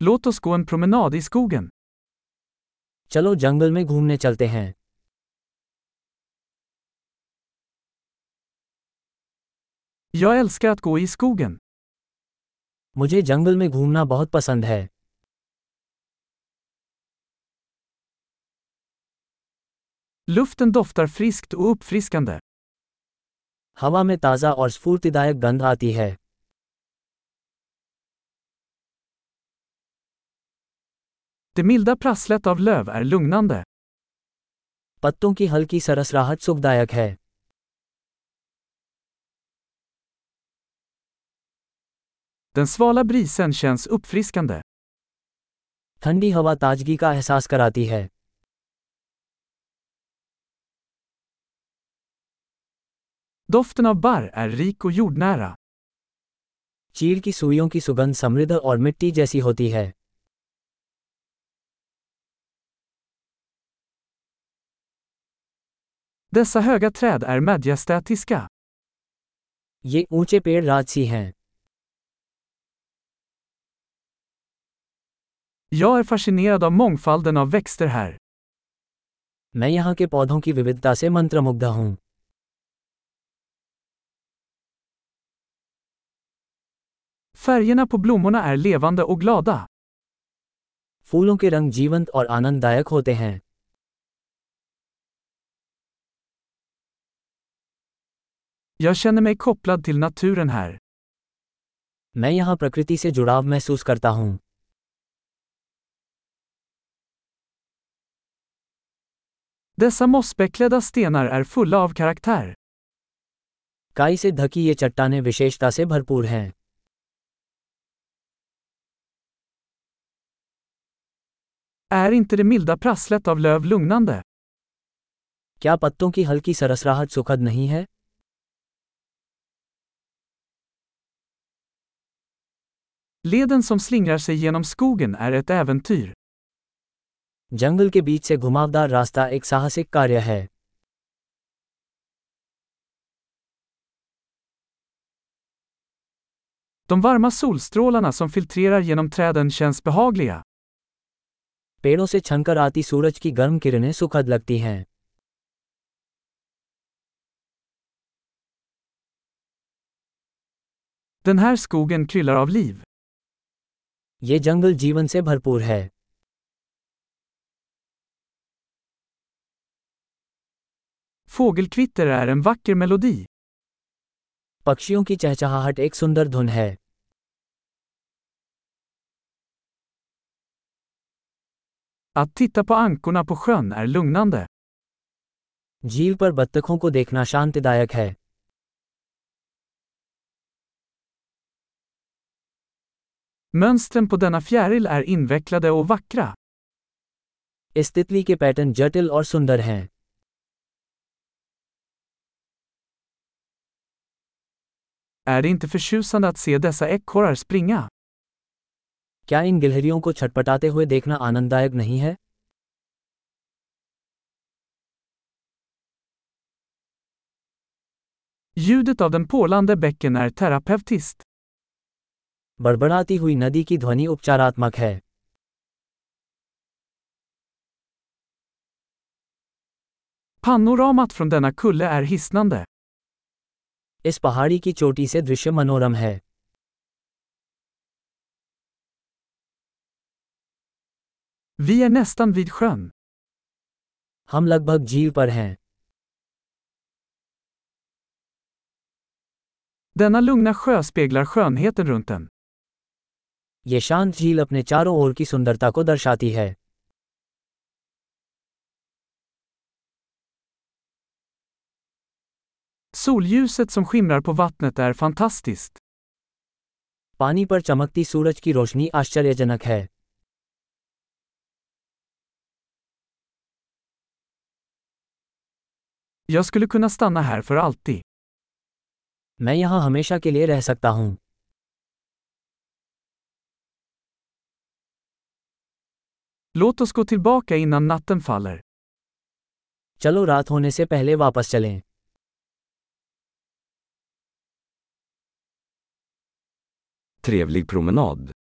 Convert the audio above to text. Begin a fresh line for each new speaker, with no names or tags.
Låt oss gå en promenad i skogen.
चलो जंगल में घूमने चलते हैं
Jag älskar att gå i skogen.
मुझे जंगल में घूमना बहुत पसंद है
Luften doftar friskt och uppfriskande.
हवा में ताज़ा और स्फूर्तिदायक गंध आती है
Det milda prasslet av löv är lugnande.
पत्तों की हल्की सरसराहट सुखदायक है
Den svala brisen känns uppfriskande.
ठंडी हवा ताजगी का एहसास कराती है
Doften av barr är rik och jordnära.
चीड़ की सुइयों की सुगंध समृद्ध और मिट्टी जैसी होती है
Dessa höga träd är majestätiska.
ये ऊंचे पेड़ राजसी हैं
Jag är fascinerad av mångfalden av växter här.
मैं यहाँ के पौधों की विविधता से मंत्रमुग्ध हूँ
Färgerna på blommorna är levande och glada.
फूलों के रंग जीवंत और आनंददायक होते हैं
Jag känner mig kopplad till naturen här.
मैं यहाँ प्रकृति से जुड़ाव महसूस करता हूँ
Dessa mossbeklädda stenar är fulla av karaktär.
काई से ढकी ये चट्टाने विशेषता से भरपूर हैं
Är inte det milda prasslet av löv lugnande?
क्या पत्तों की हल्की सरसराहट सुखद नहीं है
Leden som slingrar sig genom skogen är ett äventyr.
जंगल के बीच से घुमावदार रास्ता एक साहसिक कार्य है
De varma solstrålarna som filtrerar genom träden känns behagliga.
पेड़ों से छनकर आती सूरज की गर्म किरणें सुखद लगती हैं
Den här skogen kryllar av liv.
ये जंगल जीवन से भरपूर है
Fågelkvitter är en vacker melodi.
पक्षियों की चहचहाहट एक सुंदर धुन है
Att titta på ankorna på sjön är lugnande.
झील पर बत्तखों को देखना शांतिदायक है
Mönstren på denna fjäril är invecklade och vackra.
इस तितली के पैटर्न जटिल और सुंदर हैं
Är det inte förtjusande att se dessa ekorrar springa?
क्या इन गिलहरियों को छटपटाते हुए देखना आनंददायक नहीं है
Ljudet av den porlande bäcken är terapeutiskt.
बड़बड़ाती हुई नदी की ध्वनि उपचारात्मक है
Panoramat från denna kulle är hisnande.
इस पहाड़ी की चोटी से दृश्य मनोरम है
Vi är nästan vid sjön.
हम लगभग झील पर हैं
Denna lugna sjö speglar skönheten runt den.
ये शांत झील अपने चारों ओर की सुंदरता को दर्शाती है
Solljuset som skimrar på vattnet är fantastiskt.
पानी पर चमकती सूरज की रोशनी आश्चर्यजनक है
Jag skulle kunna stanna här för alltid.
मैं यहाँ हमेशा के लिए रह सकता हूँ
Låt oss gå tillbaka innan natten faller.
चलो रात होने से पहले वापस चलें
Trevlig promenad.